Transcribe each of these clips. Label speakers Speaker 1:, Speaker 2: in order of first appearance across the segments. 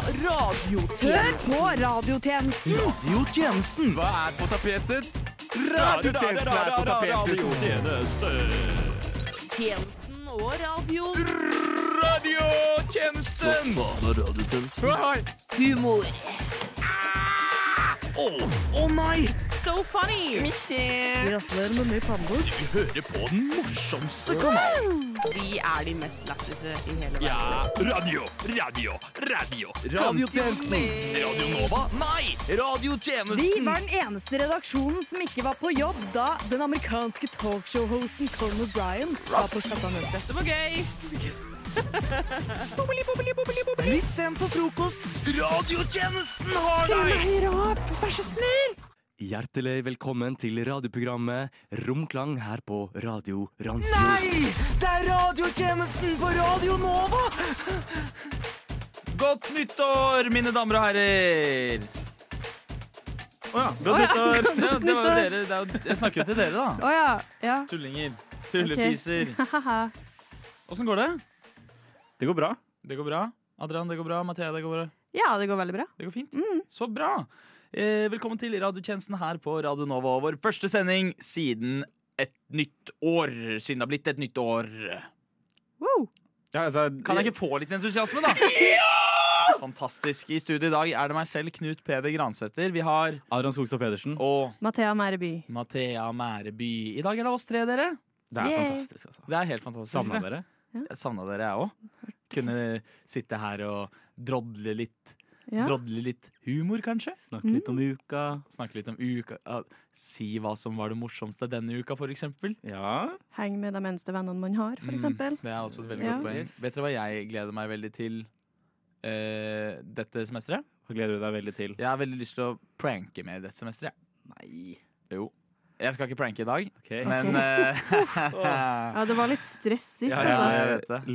Speaker 1: Hør på radiotjenesten!
Speaker 2: Radiotjenesten. Hva er på tapetet? Radiotjenesten er på tapetet.
Speaker 1: Tjenesten og radio.
Speaker 2: Radiotjenesten! Hei.
Speaker 1: Humor.
Speaker 2: Å å nei!
Speaker 1: So funny! Gratulerer med mye pannebord.
Speaker 2: Vi hører på den morsomste kanalen.
Speaker 1: Vi er de mest lættise i hele verden.
Speaker 2: Ja, radio, radio, radio.
Speaker 3: Radiotjenesten.
Speaker 2: Radio Nova? Nei!
Speaker 4: Vi
Speaker 2: Radiotjenesten.
Speaker 4: var den eneste redaksjonen som ikke var på jobb da den amerikanske talkshow-hosten Colin O'Brien var på skatteanmeldelse.
Speaker 1: Det var gøy!
Speaker 2: Litt sent på frokost. Radiotjenesten har deg! Hjertelig velkommen til radioprogrammet Romklang her på Radio Randsfjord. Nei! Det er radiotjenesten på Radio Nova!
Speaker 3: Godt nyttår, mine damer og herrer! Å ja. Godt nyttår. Ja, det var jo dere. Det er jo, jeg snakker jo til dere, da.
Speaker 4: Å ja. ja.
Speaker 3: Tullinger. Tullefiser.
Speaker 4: Haha.
Speaker 3: Åssen går det?
Speaker 5: Det går bra.
Speaker 3: Det går bra. Adrian, det går bra. Mathea, det går bra.
Speaker 4: ja, det går veldig bra.
Speaker 3: Det går fint. Så bra. Eh, velkommen til radiotjenesten her på Radio Nova. Vår første sending siden et nytt år. Siden det har blitt et nytt år.
Speaker 4: Wow.
Speaker 5: Ja, altså,
Speaker 3: Kan jeg ikke få litt entusiasme, da? Fantastisk. I studio i dag er det meg selv, Knut Peder Gransæter. Vi har
Speaker 5: Adrian Skogstad Pedersen.
Speaker 3: og
Speaker 4: Mathea Mæreby.
Speaker 3: Mathea Mæreby. I dag er det oss tre, dere.
Speaker 5: Det er
Speaker 4: Yay.
Speaker 5: fantastisk, altså.
Speaker 3: Det er helt fantastisk.
Speaker 5: Savna dere?
Speaker 3: Jeg savna dere, jeg òg. Kunne sitte her og drodle litt.
Speaker 4: Ja.
Speaker 3: Drodle litt humor, kanskje.
Speaker 5: Snakke litt om uka.
Speaker 3: Snakke litt om uka. ja, Si hva som var det morsomste denne uka, for eksempel.
Speaker 5: Ja.
Speaker 4: Heng med de eneste vennene man har,
Speaker 3: Mm.
Speaker 4: for eksempel.
Speaker 3: Det er også et veldig
Speaker 4: Ja.
Speaker 3: godt poeng. Vet dere hva jeg gleder meg veldig til eh, dette semesteret?
Speaker 5: Hva gleder du deg veldig til?
Speaker 3: Jeg har veldig lyst til å pranke med dette semesteret.
Speaker 5: Nei.
Speaker 3: Jo. Jeg skal ikke pranke i dag,
Speaker 5: Ok. Ja,
Speaker 3: men eh,
Speaker 4: Ja, det var litt stress sist,
Speaker 3: ja,
Speaker 4: altså.
Speaker 5: jeg
Speaker 3: jeg vet det.
Speaker 5: er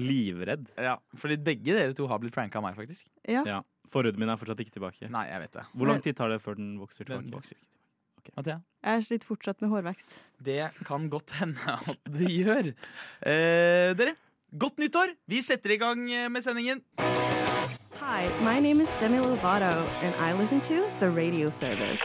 Speaker 5: livredd.
Speaker 3: ja, Fordi begge dere to har blitt pranka av meg, faktisk.
Speaker 5: Ja. Forhuden min er fortsatt ikke tilbake.
Speaker 3: Nei, jeg vet det.
Speaker 5: Hvor lang tid tar det før den vokser
Speaker 3: Den
Speaker 5: tilbake?
Speaker 3: vokser ikke tilbake. Mathea?
Speaker 4: Jeg sliter fortsatt med hårvekst.
Speaker 3: Det kan godt hende at du gjør. Eh, dere, godt nyttår! Vi setter i gang eh, med sendingen.
Speaker 4: Hi, my name is Demi Lovato, and I listen to the radio service.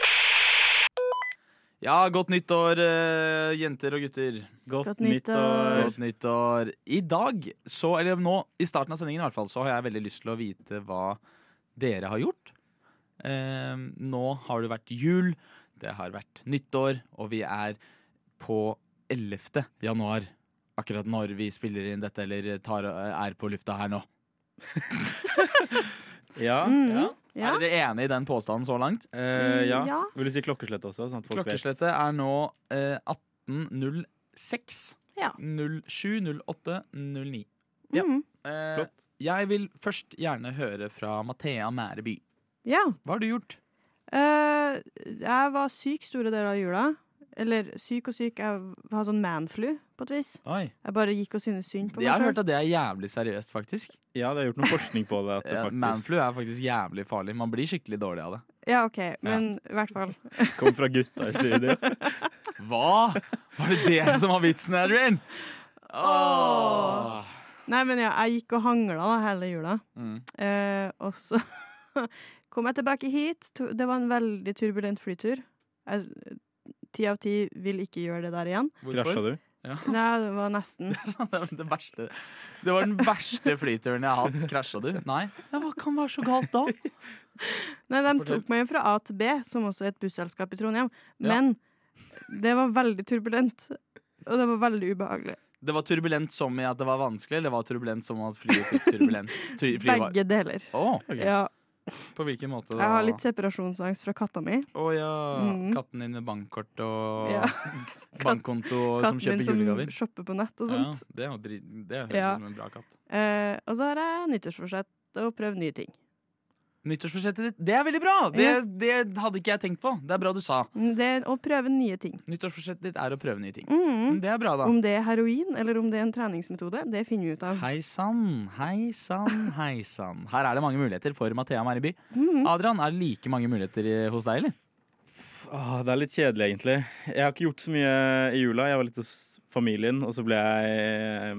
Speaker 3: Ja, godt nyttår, eh, jenter og gutter.
Speaker 5: Godt,
Speaker 4: Godt nyttår.
Speaker 5: nyttår.
Speaker 3: Godt nyttår. I dag, så, eller nå, i starten av sendingen i hvert fall, så har jeg veldig lyst til å vite hva dere har gjort. Eh, nå har det vært jul, det har vært nyttår, og vi er på 11. januar. Akkurat når vi spiller inn dette, eller tar, eh, er på lufta her nå.
Speaker 5: Ja. ja.
Speaker 4: Ja.
Speaker 3: Er dere enige i den påstanden så langt?
Speaker 5: Eh, ja.
Speaker 4: Ja.
Speaker 5: Vil du si klokkeslettet også? Sånn at folk vet.
Speaker 3: Klokkeslettet er nå eh, 18.06.
Speaker 4: Ja.
Speaker 3: 07, 08, 09. Ja.
Speaker 4: Mhm.
Speaker 3: Eh,
Speaker 5: Flott.
Speaker 3: Jeg vil først gjerne høre fra Mathea Mæreby.
Speaker 4: ja.
Speaker 3: Hva har du gjort?
Speaker 4: Eh, jeg var syk store deler av jula. Eller syk og syk, jeg har sånn manflu på et vis.
Speaker 3: Oi.
Speaker 4: Jeg bare gikk og syntes synd på
Speaker 3: Jeg har
Speaker 4: meg
Speaker 3: hørt
Speaker 4: sjøl.
Speaker 3: at det er jævlig seriøst, faktisk.
Speaker 5: Ja, det er gjort noe forskning på det. At det
Speaker 3: Ja,
Speaker 5: faktisk
Speaker 3: Manflu er faktisk jævlig farlig. Man blir skikkelig dårlig av det.
Speaker 4: Ja, OK, men i hvert fall.
Speaker 5: kom fra gutta i studio.
Speaker 3: Hva?! Var det det som var vitsen, Adrian?
Speaker 4: Åh. Nei, men ja, jeg gikk og hangla da hele jula.
Speaker 3: Mm.
Speaker 4: Eh, og så kom jeg tilbake hit. To- Det var en veldig turbulent flytur. Jeg- Ti av ti vil ikke gjøre det der igjen.
Speaker 5: Krasja du?
Speaker 4: Nei, det var nesten.
Speaker 3: Det var det verste Det var den verste flyturen jeg har hatt. Krasja du? Nei. Ja, hva kan være så galt da?
Speaker 4: Nei, de
Speaker 3: Fortell.
Speaker 4: tok meg jo fra A til B, som også er et busselskap i Trondheim.
Speaker 3: Ja.
Speaker 4: Men det var veldig turbulent. Og det var veldig ubehagelig.
Speaker 3: Det var turbulent som i at det var vanskelig, eller det var turbulent som at flyet fikk turbulent? Tu- flyet var-
Speaker 4: Begge deler.
Speaker 3: Å,
Speaker 4: Ja,
Speaker 3: på hvilken måte da?
Speaker 4: jeg har litt separasjonsangst fra katta mi.
Speaker 3: Å ja.
Speaker 4: Mm.
Speaker 3: Katten din med bankkort og
Speaker 4: Ja.
Speaker 3: bankkonto som
Speaker 4: Katten
Speaker 3: kjøper
Speaker 4: min som
Speaker 3: julegaver.
Speaker 4: shopper på nett og
Speaker 3: Ja,
Speaker 4: sånt.
Speaker 3: det, er jo drit, det høres
Speaker 4: Ja.
Speaker 3: ut som en bra katt.
Speaker 4: Eh, og så har jeg nyttårsforsett å prøve nye ting.
Speaker 3: Nyttårsforsettet ditt, det er veldig bra! Det,
Speaker 4: Ja.
Speaker 3: det hadde ikke jeg tenkt på. Det er bra du sa.
Speaker 4: Mm, Det er å prøve nye ting.
Speaker 3: Nyttårsforsettet ditt er å prøve nye ting.
Speaker 4: Mm.
Speaker 3: Det er bra, da.
Speaker 4: Om det er heroin eller om det er en treningsmetode, det finner vi ut av.
Speaker 3: Hei sann, hei sann, hei sann. Her er det mange muligheter for Mathea Mæreby.
Speaker 4: Mm.
Speaker 3: Adrian, er det like mange muligheter i- hos deg, eller?
Speaker 5: Åh, Ah, det er litt kjedelig, egentlig. Jeg har ikke gjort så mye i jula. Jeg var litt hos familien, og så ble jeg eh,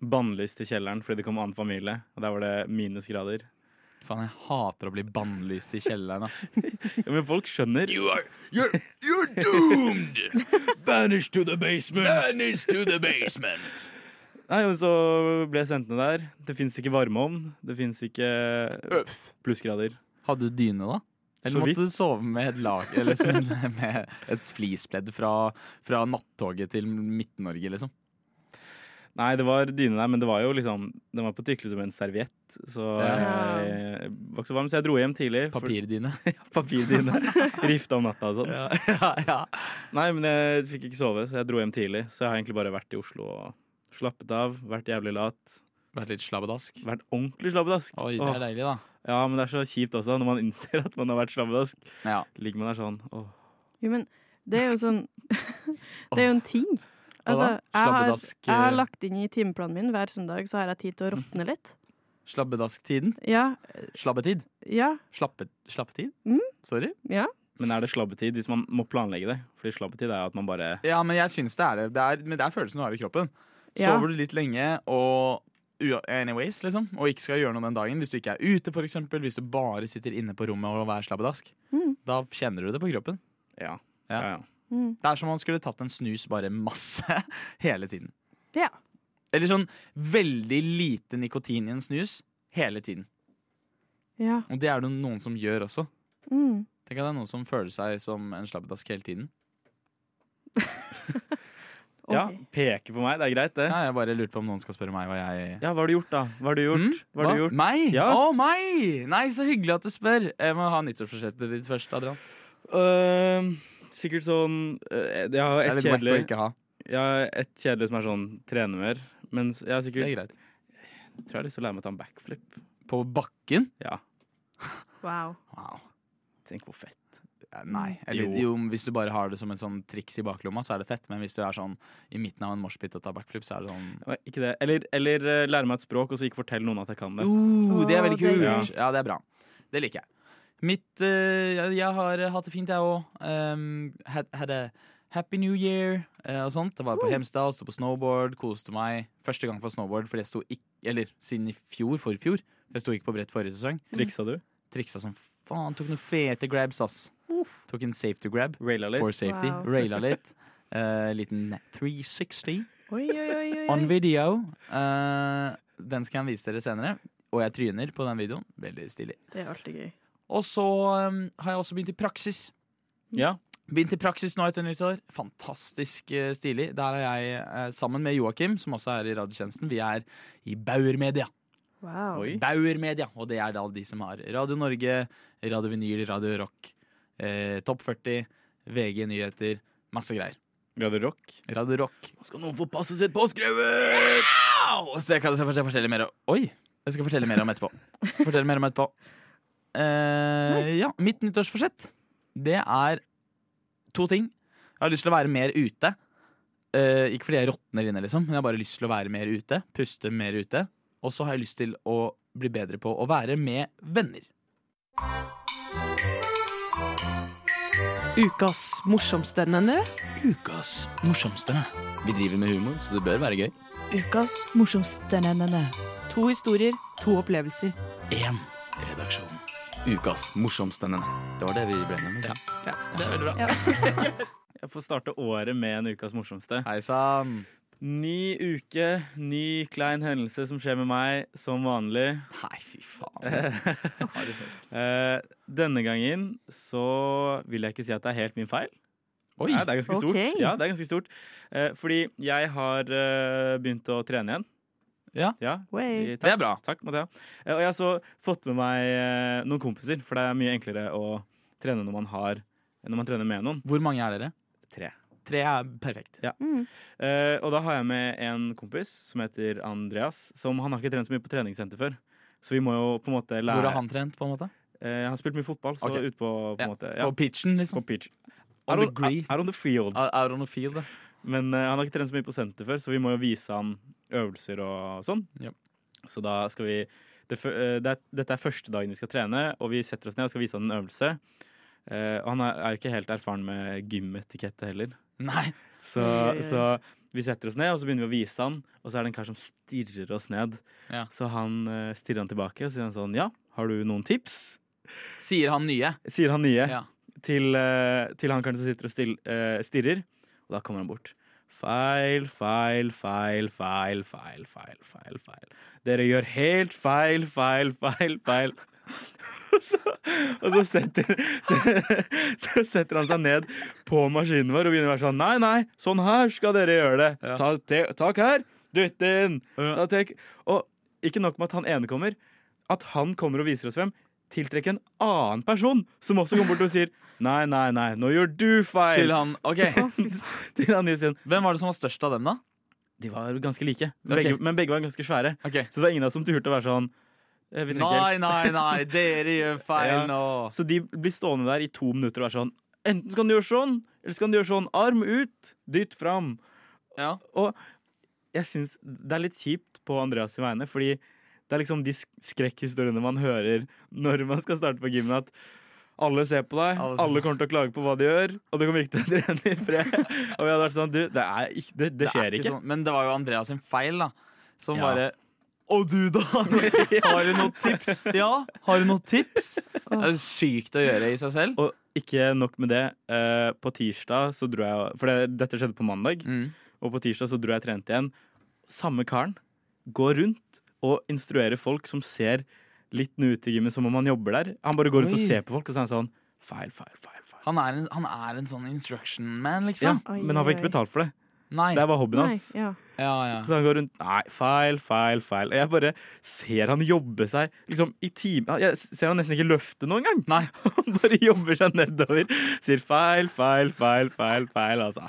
Speaker 5: bannlyst i kjelleren fordi det kom annen familie. Og der var det minusgrader.
Speaker 3: Faen, jeg hater å bli bannlyst i kjelleren, ass.
Speaker 5: Ja, men folk skjønner.
Speaker 2: You are you're, you're doomed! Banished to the basement! Banished to the basement!
Speaker 5: Nei, men så ble jeg sendt ned der. Det fins ikke varmeovn. Det fins ikke plussgrader.
Speaker 3: Hadde du dyne, da? Eller
Speaker 5: Så vidt.
Speaker 3: måtte du sove med et lag Eller som- med et flispledd fra, fra nattoget til Midt-Norge, liksom?
Speaker 5: Nei, det var dyne der, men det var jo liksom Den var på tykkel som en serviett, så
Speaker 4: Ja.
Speaker 5: jeg var ikke så varm. Så jeg dro hjem tidlig. for-
Speaker 3: Papirdyne?
Speaker 5: Papirdyne. Rifta om natta og sånn.
Speaker 3: ja, ja.
Speaker 5: Nei, men jeg fikk ikke sove, så jeg dro hjem tidlig. Så jeg har egentlig bare vært i Oslo og slappet av. Vært jævlig lat.
Speaker 3: Vært litt slabbedask?
Speaker 5: Vært ordentlig slabbedask.
Speaker 3: Oi, det
Speaker 5: Åh.
Speaker 3: er deilig, da.
Speaker 5: Ja, men det er så kjipt også, når man innser at man har vært slabbedask.
Speaker 3: Ja.
Speaker 5: Ligger man der sånn, åh.
Speaker 4: Jo, men det er jo sånn Det er jo en ting.
Speaker 3: Hva da?
Speaker 4: Altså, jeg har,
Speaker 3: Slabbedask,
Speaker 4: jeg har
Speaker 3: eh, Mm.
Speaker 4: lagt inn i timeplanen min hver søndag, så har jeg tid til å råtne litt.
Speaker 3: Slabbedasktiden?
Speaker 4: Ja.
Speaker 3: Slabbetid?
Speaker 4: Ja.
Speaker 3: Slappe, slappetid?
Speaker 4: Mm.
Speaker 3: Sorry?
Speaker 4: Ja.
Speaker 5: Men er det slabbetid hvis man må planlegge det? Fordi slabbetid er jo at man bare
Speaker 3: Ja, men jeg syns det er det. det er, men det er følelsen du har i kroppen.
Speaker 4: Ja.
Speaker 3: Sover du litt lenge og ua- anyways, liksom, og ikke skal gjøre noe den dagen, hvis du ikke er ute, for eksempel, hvis du bare sitter inne på rommet og er slabbedask,
Speaker 4: Mm.
Speaker 3: da kjenner du det på kroppen.
Speaker 5: Ja.
Speaker 3: Ja.
Speaker 5: ja. ja.
Speaker 4: Mm.
Speaker 3: Det er som om man skulle tatt en snus bare masse hele tiden.
Speaker 4: Ja.
Speaker 3: Eller sånn veldig lite nikotin i en snus hele tiden.
Speaker 4: Ja.
Speaker 3: Og det er det noen som gjør også.
Speaker 4: Mm.
Speaker 3: Tenk at det er noen som føler seg som en slabbedask hele tiden.
Speaker 4: Ok.
Speaker 5: Peker på meg, det er greit, det.
Speaker 3: Ja, jeg bare lurte på om noen skal spørre meg hva jeg
Speaker 5: Ja, hva har du gjort, da? Hva har du gjort?
Speaker 3: Mm?
Speaker 5: Hva har du gjort?
Speaker 3: Meg? Å,
Speaker 5: Ja.
Speaker 3: meg! Nei, så hyggelig at du spør. Jeg må ha nyttårsforsettet ditt først, Adrian.
Speaker 5: Øhm, sikkert sånn øh, Jeg har
Speaker 3: Det er
Speaker 5: et
Speaker 3: litt merkelig å
Speaker 5: kjedelig
Speaker 3: ikke ha.
Speaker 5: Jeg har et kjedelig som er sånn trene mer. Men s- jeg har
Speaker 3: Det er
Speaker 5: sikkert
Speaker 3: greit.
Speaker 5: tror jeg har lyst til å lære meg å ta en backflip.
Speaker 3: På bakken?
Speaker 5: Ja,
Speaker 4: Wow.
Speaker 3: Wow.
Speaker 5: tenk hvor fett.
Speaker 3: Nei. Eller,
Speaker 5: Jo.
Speaker 3: jo. hvis du bare har det som en sånn triks i baklomma, så er det fett. Men hvis du er sånn i midten av en moshpit og tar backflip, så er det sånn
Speaker 5: Ja, Ikke det. Eller, eller øh, lære meg et språk, og så ikke fortell noen at jeg kan det.
Speaker 3: Uh, det er veldig
Speaker 4: Å, det er
Speaker 3: kult. Ja.
Speaker 5: gøy.
Speaker 3: det er bra. Det liker jeg. Mitt eh, jeg, jeg har hatt det fint, jeg Um, òg. Hadde Happy New Year eh, og sånt. Jeg var på Hemsedal, sto på snowboard, koste meg. Første gang på snowboard, fordi jeg sto ikke Eller siden i fjor, forfjor. Jeg sto ikke på brett forrige sesong.
Speaker 5: Triksa du?
Speaker 3: Triksa som faen. Tok noen fete grabs, ass. Tok en safety grab
Speaker 5: Raila litt?
Speaker 3: for safety.
Speaker 4: Wow.
Speaker 3: Raila litt. Eh, liten 360
Speaker 4: Oi, oi, oi. oi,
Speaker 3: on
Speaker 4: oi.
Speaker 3: video. Eh, den skal jeg vise dere senere. Og jeg tryner på den videoen. Veldig stilig.
Speaker 4: Det er alltid gøy.
Speaker 3: Og så um, har jeg også begynt i praksis.
Speaker 5: Ja.
Speaker 3: Begynt i praksis nå etter nyttår. Fantastisk eh, stilig. Der er jeg eh, sammen med Joakim, som også er i radiotjenesten. Vi er i Bauer Media.
Speaker 4: Wow.
Speaker 5: Oi.
Speaker 3: Bauer Media, og det er da de som har Radio Norge, Radio Vinyl, Radio Rock, eh, Topp 40, VG Nyheter, masse greier.
Speaker 5: Radio Rock?
Speaker 3: Radio Rock.
Speaker 5: Skal noen få passet sitt påskrevet?
Speaker 3: Au! Så jeg kan så jeg skal fortelle mer om Oi! Jeg skal fortelle mer om etterpå. Fortelle mer om etterpå. Eh,
Speaker 4: Nice.
Speaker 3: Ja, mitt nyttårsforsett, det er to ting. Jeg har lyst til å være mer ute. Eh, ikke fordi jeg råtner inne, liksom, men jeg har bare lyst til å være mer ute. Puste mer ute. Og så har jeg lyst til å bli bedre på å være med venner.
Speaker 1: Ukas morsomstendende.
Speaker 3: Ukas morsomste. Vi driver med humor, så det bør være gøy.
Speaker 1: Ukas morsomstendende. To historier, to opplevelser.
Speaker 3: Én redaksjon. Ukas morsomste. Det var det vi ble med. Ja. ja, det er veldig bra.
Speaker 5: Jeg får starte året med en ukas morsomste.
Speaker 3: Hei sann.
Speaker 5: Ny uke, ny klein hendelse som skjer med meg, som vanlig.
Speaker 3: Nei, fy faen. altså. Har du hørt?
Speaker 5: Eh, denne gangen så vil jeg ikke si at det er helt min feil.
Speaker 3: Oi.
Speaker 5: Nei, det er ganske stort.
Speaker 4: Ok.
Speaker 5: Ja, det er ganske stort. Eh, fordi jeg har eh, begynt å trene igjen.
Speaker 3: Ja.
Speaker 5: ja.
Speaker 4: Way.
Speaker 5: i- takk.
Speaker 3: er bra.
Speaker 5: Takk, Mathea. Eh, og jeg har så fått med meg eh, noen kompiser, for det er mye enklere å trene når man, har, når man trener med noen.
Speaker 3: Hvor mange er dere?
Speaker 5: Tre.
Speaker 3: Tre er perfekt.
Speaker 4: Mm.
Speaker 5: Eh, og da har jeg med en kompis som heter Andreas. Som Han har ikke trent så mye på treningssenter før. Så vi må jo på en måte lære
Speaker 3: Hvor har han trent, på en måte?
Speaker 5: Eh, han har spilt mye fotball, så
Speaker 3: Ok.
Speaker 5: ute på, på en
Speaker 3: Ja,
Speaker 5: måte ja,
Speaker 3: På pitchen,
Speaker 5: På
Speaker 3: liksom?
Speaker 5: pitch.
Speaker 3: On
Speaker 5: Er
Speaker 3: the
Speaker 5: on-
Speaker 3: grease.
Speaker 5: er on the field.
Speaker 3: Out out on the field, da.
Speaker 5: Men eh, han har ikke trent så mye på senter før, så vi må jo vise ham øvelser og sånn.
Speaker 3: Ja.
Speaker 5: Så da skal vi det, fø- eh, det, er- Dette er første dagen vi skal trene, og vi setter oss ned og skal vise ham en øvelse. Eh, og han er, er jo ikke helt erfaren med gymetikette heller.
Speaker 3: Nei.
Speaker 5: Så,
Speaker 4: Oi, oi, oi.
Speaker 5: så vi setter oss ned, og så begynner vi å vise han, og så er det en kar som stirrer oss ned.
Speaker 3: Ja.
Speaker 5: Så han eh, stirrer han tilbake, og så sier han sånn, ja, Har du noen tips?
Speaker 3: Sier han nye.
Speaker 5: Sier han nye
Speaker 3: Ja.
Speaker 5: til, eh, til han kanskje som sitter og still, eh, stirrer. Og da kommer han bort. Feil, feil, feil, feil, feil, feil, feil. feil. Dere gjør helt feil, feil, feil, feil. Og så, og så, setter, så, så setter han seg ned på maskinen vår og begynner å være sånn Nei, nei, sånn her skal dere gjøre det.
Speaker 3: Ja.
Speaker 5: Ta, te, tak her, dytt inn.
Speaker 3: Ja.
Speaker 5: Ta tek. Og ikke nok med at han ene kommer. At han kommer og viser oss frem, tiltrekker en annen person som også kommer bort og sier Nei, nei, nei, nå gjør du feil.
Speaker 3: Til han, ok
Speaker 5: Til han nye sin.
Speaker 3: Hvem var det som var størst av dem, da?
Speaker 5: De var ganske like, begge,
Speaker 3: Ok.
Speaker 5: men begge var ganske svære.
Speaker 3: Ok.
Speaker 5: Så det var ingen av oss som turte å være sånn eh, vi trenger ikke
Speaker 3: Nei, nei, nei, dere gjør feil
Speaker 5: Ja.
Speaker 3: nå.
Speaker 5: Så de blir stående der i to minutter og være sånn Enten skal du gjøre sånn, eller skal du gjøre sånn. Arm ut, dytt fram.
Speaker 3: Ja.
Speaker 5: Og jeg syns det er litt kjipt på Andreas' vegne, fordi det er liksom de sk- skrekkhistoriene man hører når man skal starte på gymmet, at alle ser på deg,
Speaker 3: Alle
Speaker 5: alle,
Speaker 3: ser-
Speaker 5: kommer til å klage på hva de gjør, og du kommer ikke til å trene i fred. Og vi hadde vært sånn, du, det, er ikke, det, det skjer
Speaker 3: er
Speaker 5: ikke.
Speaker 3: Sånn. Men det var jo Andreas sin feil, da. Som
Speaker 5: Ja.
Speaker 3: bare Og du, da? Har du noen tips? Ja, har du noen tips? Det er jo sykt å gjøre i seg selv.
Speaker 5: Og ikke nok med det. eh, på tirsdag så dro jeg For det, dette skjedde på mandag.
Speaker 3: Mm.
Speaker 5: Og på tirsdag så dro jeg og trente igjen. Samme karen går rundt og instruerer folk som ser litt ute i gymmen, som om han jobber der. Han bare går rundt
Speaker 3: Oi.
Speaker 5: og ser på folk, og så er han sånn feil, feil, feil. feil.
Speaker 3: Han, er en, han er en sånn instruction man,
Speaker 5: Ja,
Speaker 3: liksom.
Speaker 4: Oi,
Speaker 5: men han får
Speaker 4: Sånn. oi,
Speaker 5: ikke
Speaker 4: oi.
Speaker 5: betalt for det.
Speaker 3: Nei.
Speaker 5: Det var hobbyen
Speaker 4: Nei,
Speaker 5: hans.
Speaker 4: ja.
Speaker 3: Ja, ja.
Speaker 5: Så han går rundt Nei, feil, feil, feil. Og jeg bare ser han jobbe seg liksom i time Jeg ser han nesten ikke løfte noen gang.
Speaker 3: Nei.
Speaker 5: Han bare jobber seg nedover. Sier feil, feil, feil, feil, feil, altså.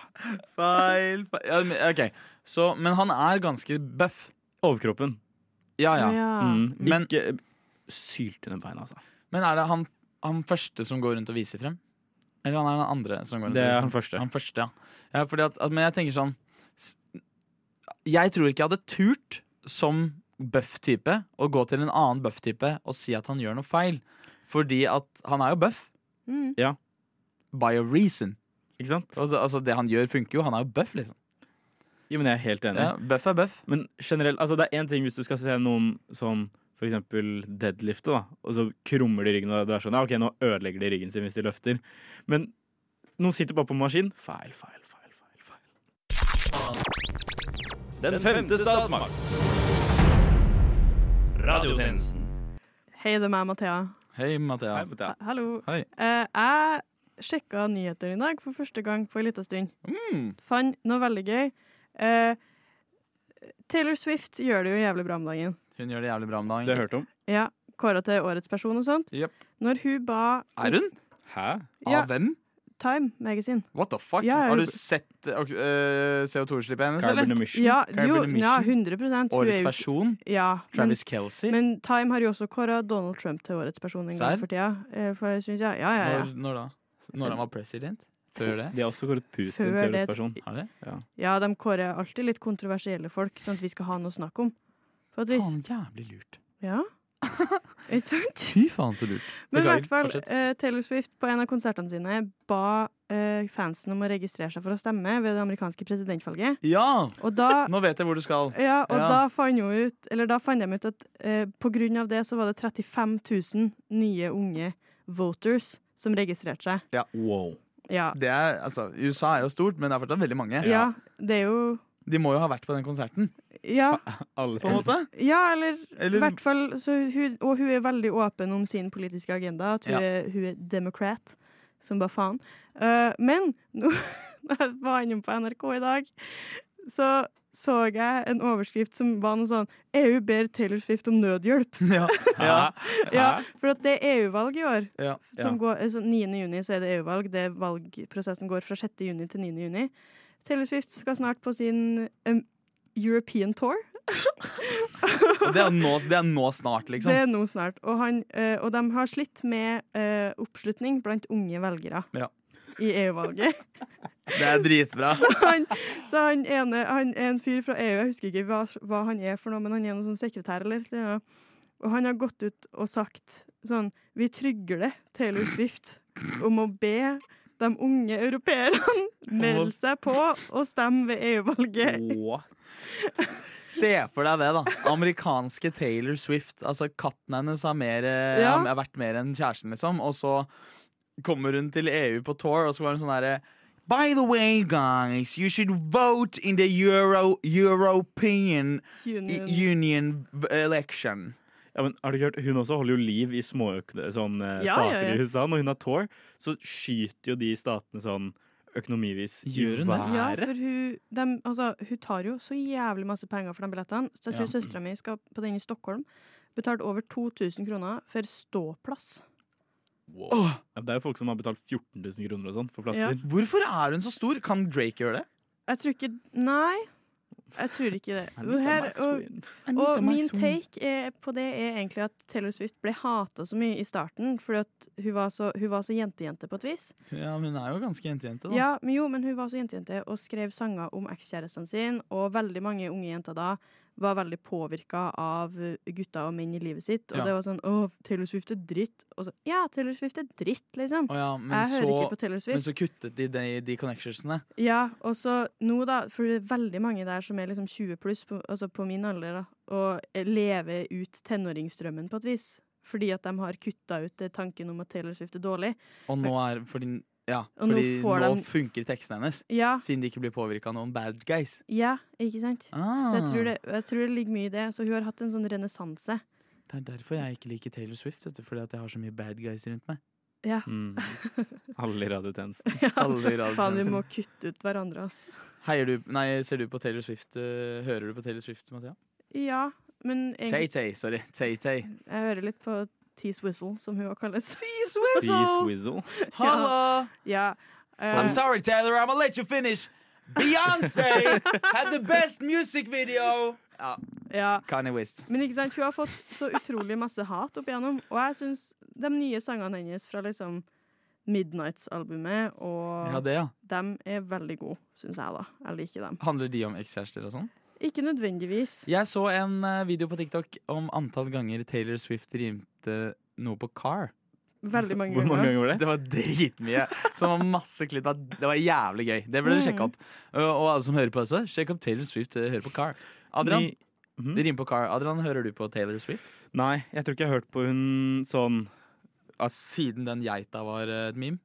Speaker 3: Feil, feil. Ja, men, ok. Så, men han er ganske bøff.
Speaker 5: Overkroppen.
Speaker 3: Ja, ja.
Speaker 4: ja.
Speaker 5: Mm.
Speaker 3: Ah. Men-
Speaker 5: Ikke sylt under beina, altså.
Speaker 3: Men er det han, han første som går rundt og viser frem? Eller han er den andre som går rundt
Speaker 5: Det
Speaker 3: og
Speaker 5: er
Speaker 3: viser
Speaker 5: han
Speaker 3: frem?
Speaker 5: første.
Speaker 3: Han første, ja. ja fordi at, at, men jeg tenker sånn s- Jeg tror ikke jeg hadde turt som bøff-type å gå til en annen bøff-type og si at han gjør noe feil. Fordi at han er jo bøff.
Speaker 4: Mm.
Speaker 3: By a reason.
Speaker 5: Ikke sant?
Speaker 3: Altså, altså det han gjør, funker jo. Han er jo bøff, liksom.
Speaker 5: Jo, men jeg er helt enig.
Speaker 3: Ja, bøff er bøff.
Speaker 5: Men generelt, altså det er én ting hvis du skal se noen som for eksempel deadlifte, da, og så krummer de ryggen, og det er sånn, ja, ok, nå ødelegger de ryggen sin hvis de løfter. Men noen sitter bare på maskin. Feil, feil, feil, feil. feil.
Speaker 6: Den femte statsmakt. Radiotjenesten.
Speaker 4: Hei, det er meg, Mathea.
Speaker 3: Hei, Mathea.
Speaker 5: Nei, men det er-
Speaker 4: Ah, Hallo.
Speaker 3: Hei.
Speaker 4: Eh, jeg sjekka nyheter i dag for første gang på en liten stund.
Speaker 3: Mm.
Speaker 4: Fant noe veldig gøy. Eh, Taylor Swift gjør det jo jævlig bra om dagen.
Speaker 3: Hun gjør det jævlig bra om
Speaker 5: Det har
Speaker 3: dagen.
Speaker 5: jeg hørt om.
Speaker 4: Ja, Kåra til årets person og sånt.
Speaker 3: Jep.
Speaker 4: Når hun ba
Speaker 3: Er hun?
Speaker 5: Hæ?
Speaker 4: Ja,
Speaker 3: Av hvem?
Speaker 4: Time Magazine.
Speaker 3: What the fuck?
Speaker 4: Ja, jeg-
Speaker 3: Har du sett eh, ok, eh, CO2-utslippet hennes,
Speaker 5: Carbon
Speaker 3: eller?
Speaker 5: emission.
Speaker 4: Ja,
Speaker 3: Carbon
Speaker 4: jo,
Speaker 3: emission.
Speaker 4: ja, 100 Hun er
Speaker 3: Årets
Speaker 4: jo-
Speaker 3: person?
Speaker 4: Ja, men,
Speaker 3: Travis Kelce?
Speaker 4: men Time har jo også kåra Donald Trump til årets person en
Speaker 3: Serr?
Speaker 4: gang for tida. eh, For synes jeg, ja, ja, ja.
Speaker 3: Når, når da? Når han var president? Før det?
Speaker 5: De har også kåret Putin
Speaker 4: Før
Speaker 5: til
Speaker 4: det-
Speaker 5: årets person.
Speaker 3: Har det?
Speaker 4: ja, de kårer alltid litt kontroversielle folk, sånn at vi skal ha noe å snakke om. På et vis.
Speaker 3: Faen, jævlig lurt.
Speaker 4: Ja. Ikke sant?
Speaker 3: Fy faen, så lurt.
Speaker 4: Men i
Speaker 3: Beklager,
Speaker 4: hvert fall,
Speaker 3: fortsett.
Speaker 4: eh, Taylor Swift på en av konsertene sine ba eh, fansen om å registrere seg for å stemme ved det amerikanske presidentvalget.
Speaker 3: Ja!
Speaker 4: Og da,
Speaker 3: Nå vet jeg hvor du skal.
Speaker 4: ja, og
Speaker 3: Ja.
Speaker 4: da fant hun ut Eller da fant de ut at eh, på grunn av det så var det 35 000 nye unge voters som registrerte seg.
Speaker 5: Wow.
Speaker 4: Ja.
Speaker 3: Det er, altså, USA er jo stort, men det er fortsatt veldig mange.
Speaker 4: Ja, det er jo
Speaker 3: De må jo ha vært på den konserten,
Speaker 4: Ja,
Speaker 5: Alle
Speaker 3: på en måte.
Speaker 4: ja eller,
Speaker 3: Eller-
Speaker 4: i hvert fall så hun, Og hun er veldig åpen om sin politiske agenda. At hun,
Speaker 3: Ja.
Speaker 4: er, hun er demokrat, som bare faen. Eh, men nå når jeg var innom på NRK i dag, så så jeg en overskrift som var noe sånn EU ber Taylor Swift om nødhjelp.
Speaker 3: ja. ja.
Speaker 4: Ja, for at det er EU-valg i år.
Speaker 3: Ja.
Speaker 4: Som går, altså 9. juni så er det EU-valg. Det valgprosessen går fra 6. juni til 9. juni. Taylor Swift skal snart på sin em, European tour.
Speaker 3: Og Det, er nå, det er nå snart,
Speaker 4: Det
Speaker 3: liksom.
Speaker 4: er nå snart. Og, han, eh, og de har slitt med eh, oppslutning blant unge velgere
Speaker 3: Ja.
Speaker 4: i EU-valget.
Speaker 3: Det er dritbra.
Speaker 4: Han, så han ene han er en fyr fra EU, jeg husker ikke hva, hva han er for noe, men han er noen sånn sekretær eller det er- Og han har gått ut og sagt sånn Vi trygler det, Taylor Swift, om å be de unge europeerne melde seg på og stemme ved EU-valget.
Speaker 5: What?
Speaker 3: Se for deg det, da. Amerikanske Taylor Swift. Altså, katten hennes har, mer, eh,
Speaker 4: Ja.
Speaker 3: har vært mer enn kjæresten, liksom. Og så kommer hun til EU på tour, og så var hun sånn herre By the way, guys, you should vote in the Euro, European
Speaker 4: Union.
Speaker 3: Union election.
Speaker 5: Ja, men har du ikke hørt, Hun også holder jo liv i småøkonomier sånn, eh,
Speaker 4: Ja,
Speaker 5: stater
Speaker 4: ja, ja.
Speaker 5: i USA. Når hun har tour, så skyter jo de statene sånn økonomivis i
Speaker 3: Gjør hun det?
Speaker 5: været.
Speaker 4: Ja, for hun, dem- altså, hun tar jo så jævlig masse penger for de billettene. Så jeg tror søstera mi skal på den i Stockholm. Betalt over 2000 kroner for ståplass.
Speaker 5: Ja, Det er jo folk som har betalt 14 000 kroner og sånn for
Speaker 4: Ja.
Speaker 5: plasser.
Speaker 3: Hvorfor er hun så stor? Kan Drake gjøre det?
Speaker 4: Jeg tror ikke Nei, jeg tror ikke det.
Speaker 5: Anita
Speaker 4: Og, her, og,
Speaker 5: Maxwell.
Speaker 4: og min take er, på det er egentlig at Taylor Swift ble hata så mye i starten fordi at hun var så, hun var så jentejente på et vis.
Speaker 3: Ja, men hun er jo ganske jentejente, da.
Speaker 4: Ja, men jo, men hun var så jentejente og skrev sanger om ekskjæresten sin, og veldig mange unge jenter da var veldig påvirka av eh, gutter og menn i livet sitt. Og
Speaker 3: Ja.
Speaker 4: det var sånn 'Å, Taylor Swift er dritt'. Og så, ja, Taylor Swift er dritt, liksom.
Speaker 3: Å ja, men,
Speaker 4: Jeg hører ikke
Speaker 3: så,
Speaker 4: på Taylor
Speaker 3: men
Speaker 4: Swift.
Speaker 3: så kuttet de de, de connectionsene.
Speaker 4: Ja, og så nå, da, for det er veldig mange der som er liksom 20 pluss, på, altså på min alder, da, og eh, lever ut tenåringsdrømmen på et vis. Fordi at de har kutta ut eh, tanken om at Taylor Swift er dårlig.
Speaker 3: Og nå er fordi, ja,
Speaker 4: Og nå
Speaker 3: fordi nå,
Speaker 4: får de-
Speaker 3: funker tekstene hennes.
Speaker 4: Ja,
Speaker 3: Siden de ikke blir påvirka av noen bad guys.
Speaker 4: ja, ikke sant?
Speaker 3: Ah,
Speaker 4: Så jeg tror, det, jeg tror det ligger mye i det. Så hun har hatt en sånn renessanse.
Speaker 3: det er derfor jeg ikke liker Taylor Swift. Vet du, fordi at jeg har så mye bad guys rundt meg.
Speaker 4: Ja.
Speaker 5: Mm. Alle i radiotjenesten.
Speaker 3: Alle i
Speaker 4: Faen, vi
Speaker 3: radiotjenesten.
Speaker 4: må kutte ut hverandre, ass.
Speaker 3: Heier du Nei, ser du på Taylor Swift? eh, hører du på Taylor Swift, Mathea?
Speaker 4: Ja, men egentlig,
Speaker 3: Tay-Tay, sorry. Tay-Tay.
Speaker 4: jeg hører litt på Tease Whistle, som hun også kalles.
Speaker 5: Cheese Whizzle.
Speaker 3: Halla!
Speaker 4: Ja. eh,
Speaker 3: I'm sorry, Taylor. I'm gonna let you finish. Beyoncé had the best music video. Ja,
Speaker 4: ja.
Speaker 3: Kanye West.
Speaker 4: Men ikke sant, hun har fått så utrolig masse hat opp igjennom, og jeg syns de nye sangene hennes fra liksom Midnights-albumet og
Speaker 3: Ja, det, ja.
Speaker 4: dem er veldig gode, syns jeg, da. Jeg liker dem.
Speaker 3: Handler de om ekskjærester og sånn?
Speaker 4: Ikke nødvendigvis.
Speaker 3: Jeg så en eh, video på TikTok om antall ganger Taylor Swift rimte noe på car.
Speaker 4: Veldig mange
Speaker 5: Hvor mange
Speaker 4: ganger.
Speaker 5: ganger var det?
Speaker 3: Det var dritmye. Så det var masse klipp. av- Det var jævlig gøy. Det burde dere sjekke opp. Uh, Og alle som hører på også, sjekk opp Taylor Swift. eh, Hør på car. Adrian,
Speaker 5: Ni- Mhm.
Speaker 3: det rimer på car. Adrian, hører du på Taylor Swift?
Speaker 5: Nei, jeg tror ikke jeg har hørt på hun sånn
Speaker 3: Siden den geita var eh, et meme.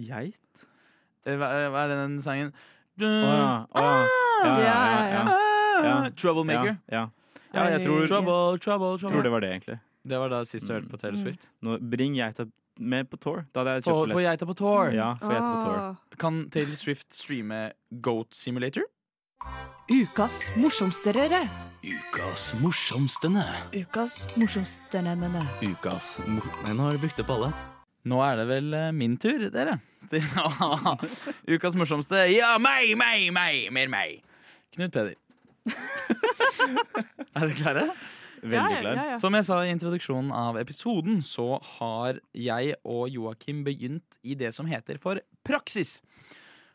Speaker 5: Geit?
Speaker 3: Eh, Hva eh, hva er den sangen?
Speaker 5: Å ja.
Speaker 4: Mm.
Speaker 5: Å ja.
Speaker 4: Ah!
Speaker 5: Ja, ja, ja, ja.
Speaker 3: Ah,
Speaker 5: Ja.
Speaker 3: Troublemaker.
Speaker 5: Ja, ja. ja jeg tror,
Speaker 3: Trouble, trouble,
Speaker 5: tror det
Speaker 3: trouble.
Speaker 5: var det, egentlig.
Speaker 3: Det var da sist du hørte på Taylor
Speaker 4: Mm.
Speaker 3: Swift.
Speaker 5: Nå, bring geita med på tour. Da hadde jeg
Speaker 3: Få
Speaker 5: kjøpt
Speaker 3: få
Speaker 5: billett.
Speaker 3: geita på tour.
Speaker 5: Ja, få geita på tour.
Speaker 4: Ah.
Speaker 3: Kan Taylor Swift streame Goat Simulator?
Speaker 1: Ukas morsomsterere.
Speaker 2: Ukas morsomstene.
Speaker 1: Ukas morsomsterere.
Speaker 2: Ukas mor... Nei, nå har du brukt opp alle.
Speaker 3: Nå er det vel eh, min tur, dere. Til å ha ukas morsomste Ja, meg, meg, meg! Mer meg! Knut Peder. er dere klare?
Speaker 5: Veldig
Speaker 4: ja,
Speaker 5: klar.
Speaker 4: Ja, ja.
Speaker 3: Som jeg sa i introduksjonen av episoden, så har jeg og Joakim begynt i det som heter for praksis.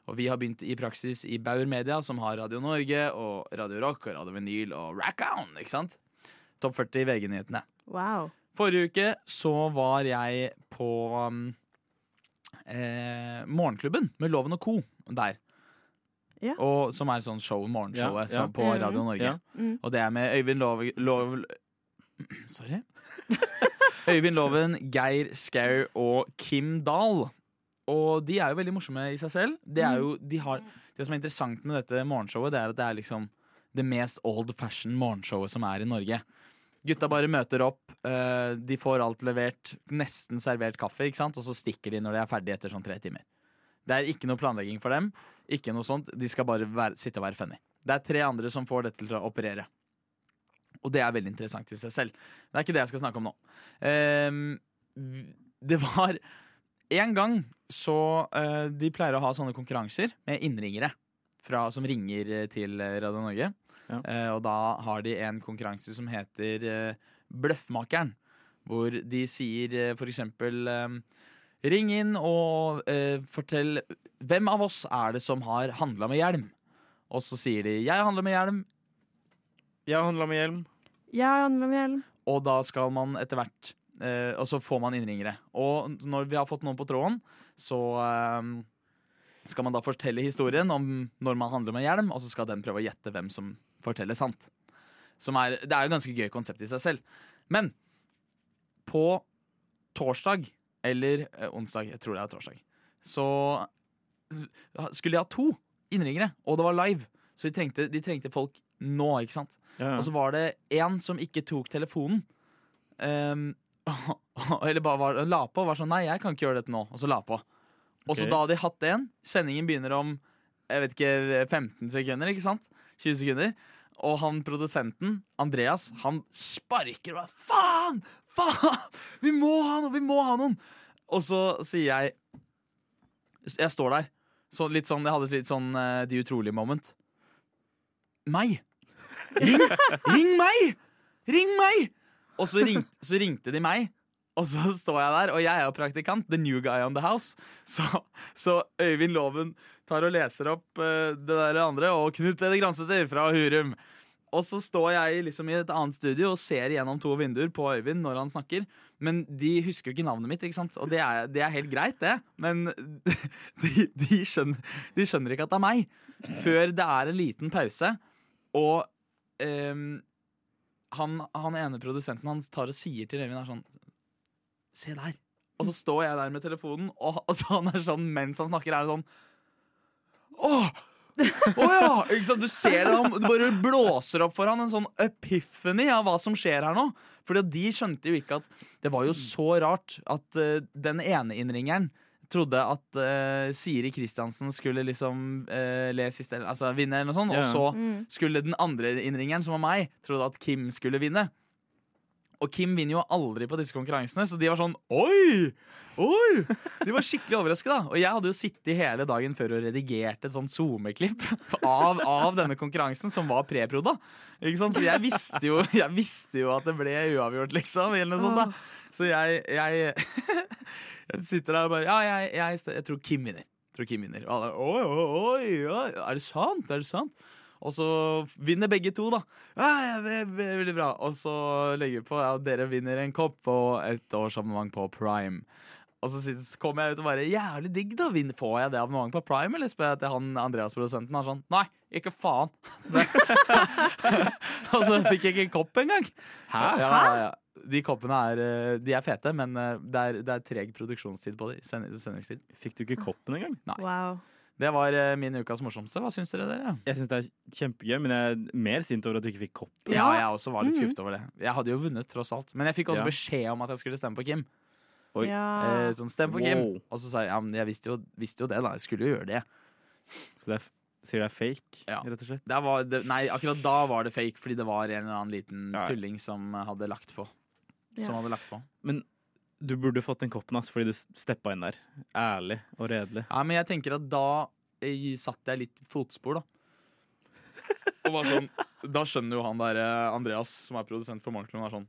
Speaker 3: Og vi har begynt i praksis i Bauer Media, som har Radio Norge og Radio Rock og Radio Vinyl og Rackown, ikke sant? Topp 40 VG-nyhetene.
Speaker 4: Wow.
Speaker 3: Forrige uke så var jeg på um, eh, Morgenklubben med Loven og Co. der.
Speaker 4: Ja.
Speaker 3: Og, som er sånn show,
Speaker 5: Ja, ja.
Speaker 3: morgenshowet som på
Speaker 4: Mhm.
Speaker 3: Radio Norge.
Speaker 5: Ja.
Speaker 4: Mm.
Speaker 3: Og det er med Øyvind Lov... Lov sorry. Øyvind Loven, Geir Skau og Kim Dahl. Og de er jo veldig morsomme i seg selv. Det, er jo, de har, det som er interessant med dette morgenshowet, det er at det er liksom det mest old fashion morgenshowet som er i Norge. Gutta bare møter opp, eh, de får alt levert, nesten servert kaffe, ikke sant? og så stikker de når de er ferdige etter sånn tre timer. Det er ikke noe planlegging for dem. Ikke noe sånt. De skal bare være, sitte og være funny. Det er tre andre som får dette til å operere. Og det er veldig interessant i seg selv. Det er ikke det jeg skal snakke om nå. Ehm, v- det var En gang så eh, De pleier å ha sånne konkurranser med innringere fra, som ringer eh, til eh, Radio Norge.
Speaker 5: Ja.
Speaker 3: Eh, og da har de en konkurranse som heter eh, Bløffmakeren. Hvor de sier eh, for eksempel eh, Ring inn og eh, fortell hvem av oss er det som har handla med hjelm. Og så sier de 'jeg handler med hjelm',
Speaker 5: Jeg handla med hjelm.
Speaker 4: Jeg handler med hjelm.
Speaker 3: og da skal man etter hvert eh, og så får man innringere. Og når vi har fått noen på tråden, så eh, skal man da fortelle historien om når man handler med hjelm, og så skal den prøve å gjette hvem som forteller sant. Som er, det er jo et ganske gøy konsept i seg selv. Men på torsdag, eller eh, onsdag, jeg tror det er torsdag, så skulle jeg ha to innringere, og det var live. Så de trengte, de trengte folk nå, ikke sant?
Speaker 5: Ja, ja.
Speaker 3: Og så var det én som ikke tok telefonen. Ehm, eller bare var, la på og var sånn 'nei, jeg kan ikke gjøre dette nå', og så la på. Og så
Speaker 5: Ok.
Speaker 3: da hadde de hatt en. Sendingen begynner om jeg vet ikke, 15 sekunder, ikke sant? 20 sekunder. Og han produsenten, Andreas, han sparker og bare 'faen! Faen! Vi må ha noen! Vi må ha noen!' Og så sier jeg Jeg står der. Så litt sånn, jeg hadde et litt sånn eh, De utrolige moment. Meg! Ring meg! Ring meg! Og så, ring, så ringte de meg. Og så står jeg der, og jeg er jo praktikant. The new guy on the house. Så, så Øyvind Loven tar og leser opp eh, det der andre, og Knut Peder Gransæter fra Hurum. Og så står jeg liksom i et annet studio og ser gjennom to vinduer på Øyvind når han snakker. Men de husker jo ikke navnet mitt, ikke sant? og det er, det er helt greit, det. Men de, de, skjønner, de skjønner ikke at det er meg før det er en liten pause. Og ehm, han, han ene produsenten hans tar og sier til Øyvind er sånn Se der. Og så står jeg der med telefonen, og, og så han er sånn mens han snakker, er det sånn Åh! Å ja! Ikke sant? Du ser det, han- det bare blåser opp for han en sånn epiphany av hva som skjer her nå. Fordi at de skjønte jo ikke at Det var jo så rart at eh, den ene innringeren trodde at eh, Siri Kristiansen skulle liksom eh, le siste, altså vinne, eller noe sånt.
Speaker 5: Ja.
Speaker 3: Og så
Speaker 4: Mm.
Speaker 3: skulle den andre innringeren, som var meg, trodde at Kim skulle vinne. Og Kim vinner jo aldri på disse konkurransene, så de var sånn Oi! Oi! De var skikkelig overrasket, da. Og jeg hadde jo sittet hele dagen før og redigert et sånt SoMe-klipp av, av denne konkurransen, som var preprod, da. Ikke sant? Så jeg visste, jo, jeg visste jo at det ble uavgjort, liksom. Eller noe sånt, da. Så jeg, jeg, jeg sitter der og bare Ja, jeg, jeg, jeg tror Kim vinner. Jeg tror Kim vinner. Og alle oi, oi, oi, oi, er det sant? Er det sant? Og så vinner begge to, da. Ja, ja, ve- ve- veldig bra. Og så legger vi på ja, dere vinner en kopp og et årsabonnement på Prime. Og så sitter- så kommer jeg ut og bare Jævlig digg, da. Vinn- Får jeg det abonnementet på Prime? Eller spør jeg til han Andreas-produsenten. Han er sånn Nei, ikke faen. og så fikk jeg ikke en kopp engang. Hæ? Ja, ja, ja. De koppene er, eh, de er fete, men eh, det er, det er treg produksjonstid på de. Send, sendingstid.
Speaker 5: Fikk du ikke koppen engang?
Speaker 4: Wow.
Speaker 3: Det var eh, min ukas morsomste. Hva syns dere, dere?
Speaker 5: Jeg syns det er kjempegøy, men jeg er mer sint over at du ikke fikk koppen.
Speaker 3: Ja,
Speaker 4: Ja.
Speaker 3: jeg også var litt skuffet over det. Jeg hadde jo vunnet, tross alt. Men jeg fikk også
Speaker 5: Ja.
Speaker 3: beskjed om at jeg skulle stemme på Kim.
Speaker 5: Oi.
Speaker 4: Ja.
Speaker 3: Eh, sånn, stem på
Speaker 5: Wow.
Speaker 3: Kim. Og så sa jeg ja, men jeg visste jo, visste jo det, da. Jeg skulle jo gjøre det.
Speaker 5: Så det er, f- sier det er fake,
Speaker 3: Ja.
Speaker 5: rett og slett.
Speaker 3: det, var, det nei, akkurat da var det fake, fordi det var en eller annen liten
Speaker 5: Ja, ja.
Speaker 3: tulling som hadde lagt på.
Speaker 4: Ja.
Speaker 3: Som hadde lagt på.
Speaker 5: Du burde fått den koppen, ass, fordi du s- steppa inn der. Ærlig og redelig.
Speaker 3: Ja, men jeg tenker at da eh, satt jeg litt fotspor, da. Og var sånn Da skjønner jo han der eh, Andreas, som er produsent for Morgenklubben, er sånn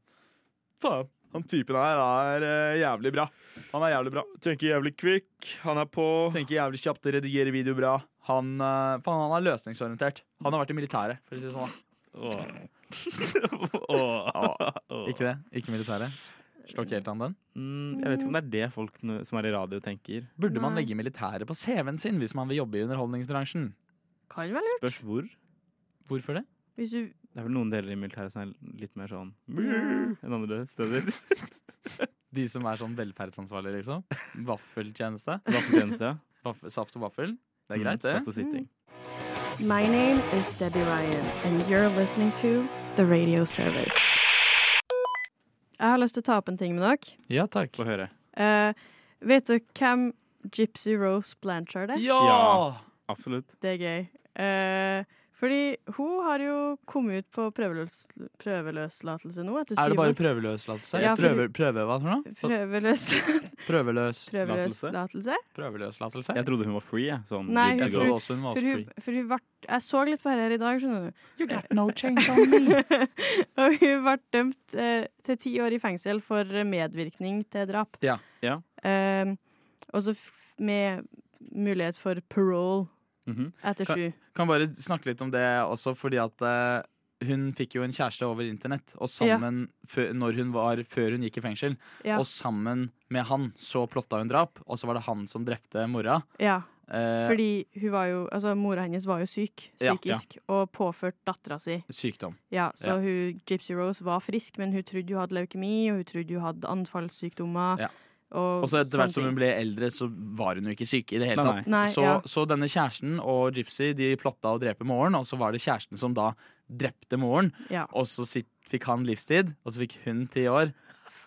Speaker 3: Faen, han typen her er eh, jævlig bra. Han er jævlig bra.
Speaker 5: Tenker jævlig kvikk. Han er på
Speaker 3: Tenker jævlig kjapt, redigerer video bra. Han, eh, faen, han er løsningsorientert. Han har vært i militæret, for å si det sånn. da.
Speaker 5: Åh. Åh. Åh.
Speaker 3: Ikke det? Ikke militæret? Slår ikke helt an den.
Speaker 5: Mm, jeg vet ikke om det er det folk nå- som er i radio tenker.
Speaker 3: Burde man
Speaker 4: Nei.
Speaker 3: legge militæret på CV-en sin hvis man vil jobbe i underholdningsbransjen?
Speaker 4: Kan vel det?
Speaker 5: Spørs hvor.
Speaker 3: Hvorfor det?
Speaker 4: Hvis du
Speaker 5: Det er vel noen deler i militæret som er litt mer sånn
Speaker 4: Ja.
Speaker 5: enn andre steder.
Speaker 3: De som er sånn velferdsansvarlige, liksom. Vaffeltjeneste.
Speaker 5: Vaffeltjeneste, ja.
Speaker 3: Vaff- saft og vaffel. Det er
Speaker 5: Mm,
Speaker 3: greit, det.
Speaker 5: Saft og sitting.
Speaker 4: My name is Debbie Ryan, and you're listening to The Radio Service. Jeg har lyst til å ta opp en ting med dere.
Speaker 3: Ja takk.
Speaker 5: Få høre.
Speaker 4: Eh, vet dere hvem Gypsy Rose Blanchard er?
Speaker 3: Ja!
Speaker 5: Ja. Absolutt.
Speaker 4: Det er gøy. Eh, fordi hun har jo kommet ut på prøveløs prøveløslatelse nå. Etter
Speaker 3: Er det
Speaker 4: syv
Speaker 3: bare
Speaker 4: år.
Speaker 3: prøveløslatelse?
Speaker 4: Ja, fordi-
Speaker 3: Prøve, prøve hva for noe?
Speaker 4: Prøveløs
Speaker 3: Prøveløs.
Speaker 4: prøveløslatelse?
Speaker 3: Prøveløslatelse?
Speaker 5: Jeg trodde hun var free, jeg. Sånn,
Speaker 4: Nei, jeg
Speaker 5: good to
Speaker 3: Jeg
Speaker 5: go.
Speaker 3: trodde også hun var
Speaker 4: For hun,
Speaker 3: free.
Speaker 4: for hun vart, jeg så litt på dette her i dag, skjønner du.
Speaker 3: You got no change on me.
Speaker 4: Og hun ble dømt eh, til ti år i fengsel for medvirkning til drap.
Speaker 3: Ja,
Speaker 5: ja.
Speaker 4: Eh, og så f- med mulighet for parole
Speaker 5: Mhm.
Speaker 4: etter
Speaker 3: Kan-
Speaker 4: sju.
Speaker 3: Kan bare snakke litt om det også, fordi at eh, hun fikk jo en kjæreste over internett, og sammen fø- når hun var, før hun gikk i fengsel.
Speaker 4: Ja.
Speaker 3: Og sammen med han så plotta hun drap, og så var det han som drepte mora.
Speaker 4: Ja,
Speaker 3: Eh,
Speaker 4: fordi hun var jo Altså, mora hennes var jo syk,
Speaker 3: Ja, ja.
Speaker 4: psykisk, og påført dattera si.
Speaker 3: Sykdom.
Speaker 4: Ja, så
Speaker 3: Ja.
Speaker 4: hun, Gypsy Rose var frisk, men hun trodde hun hadde leukemi, og hun trodde hun hadde anfallssykdommer.
Speaker 3: Ja.
Speaker 4: Og,
Speaker 3: Og så etter hvert
Speaker 4: sånne
Speaker 3: som hun
Speaker 4: ting.
Speaker 3: ble eldre, så var hun jo ikke syk i det hele
Speaker 5: Nei,
Speaker 3: tatt.
Speaker 5: nei.
Speaker 4: Nei,
Speaker 3: så,
Speaker 4: ja.
Speaker 3: så denne kjæresten og Gypsy de plotta å drepe moren, og så var det kjæresten som da drepte moren.
Speaker 4: ja.
Speaker 3: Og så sitt, fikk han livstid, og så fikk hun ti år.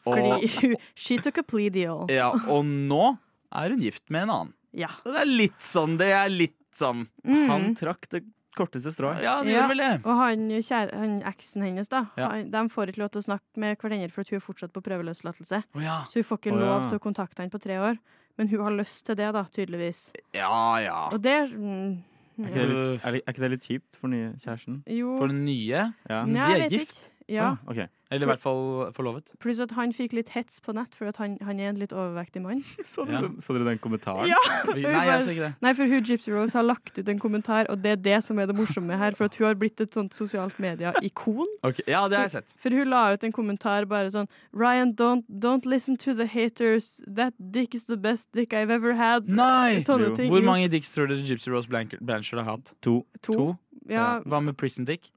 Speaker 3: Og,
Speaker 4: Fordi hun, she took a plea deal.
Speaker 3: ja, og nå er hun gift med en annen.
Speaker 4: Ja.
Speaker 3: Og Det er litt sånn, det er litt sånn.
Speaker 5: Han
Speaker 4: Mm.
Speaker 5: trakk det korteste strået.
Speaker 3: Ja, det
Speaker 4: Ja.
Speaker 3: gjør vel det.
Speaker 4: Og han, kjære, han eksen hennes, da,
Speaker 3: Ja.
Speaker 4: han, de får ikke lov til å snakke med hverandre, for at hun er fortsatt på prøveløslatelse.
Speaker 3: Å ja.
Speaker 4: Så hun får ikke
Speaker 5: Å, ja.
Speaker 4: lov til å kontakte han på tre år. Men hun har lyst til det, da, tydeligvis.
Speaker 3: Ja ja.
Speaker 4: Og det mm,
Speaker 5: Er ikke, det litt, er, li- er ikke det litt kjipt for den nye kjæresten?
Speaker 4: Jo
Speaker 3: For den nye,
Speaker 5: Ja.
Speaker 4: Nei,
Speaker 3: de er
Speaker 4: jeg vet
Speaker 3: gift.
Speaker 4: Ikke. Ja.
Speaker 5: Ah, ok.
Speaker 3: eller i hvert fall forlovet.
Speaker 4: Pluss at han fikk litt hets på nett, for at han, han er en litt overvektig mann.
Speaker 5: så,
Speaker 3: Ja.
Speaker 5: dere, den- så dere den kommentaren?
Speaker 4: Ja.
Speaker 3: Nei, jeg så ikke det.
Speaker 4: Nei, for hun Gypsy Rose har lagt ut en kommentar, og det er det som er det morsomme her. For at hun har blitt et sånt sosialt media-ikon.
Speaker 3: Ok, Ja, det har jeg sett.
Speaker 4: For hun la ut en kommentar bare sånn Ryan, don't, don't listen to the haters. That dick is the best dick I've ever had.
Speaker 3: Nei!
Speaker 4: Sånne
Speaker 5: Jo.
Speaker 4: ting.
Speaker 3: Hvor
Speaker 4: Jo,
Speaker 3: mange dicks tror dere Gypsy Rose Blanker- Blanchard har hatt?
Speaker 5: To.
Speaker 4: To. Ja,
Speaker 3: Hva med prison dick?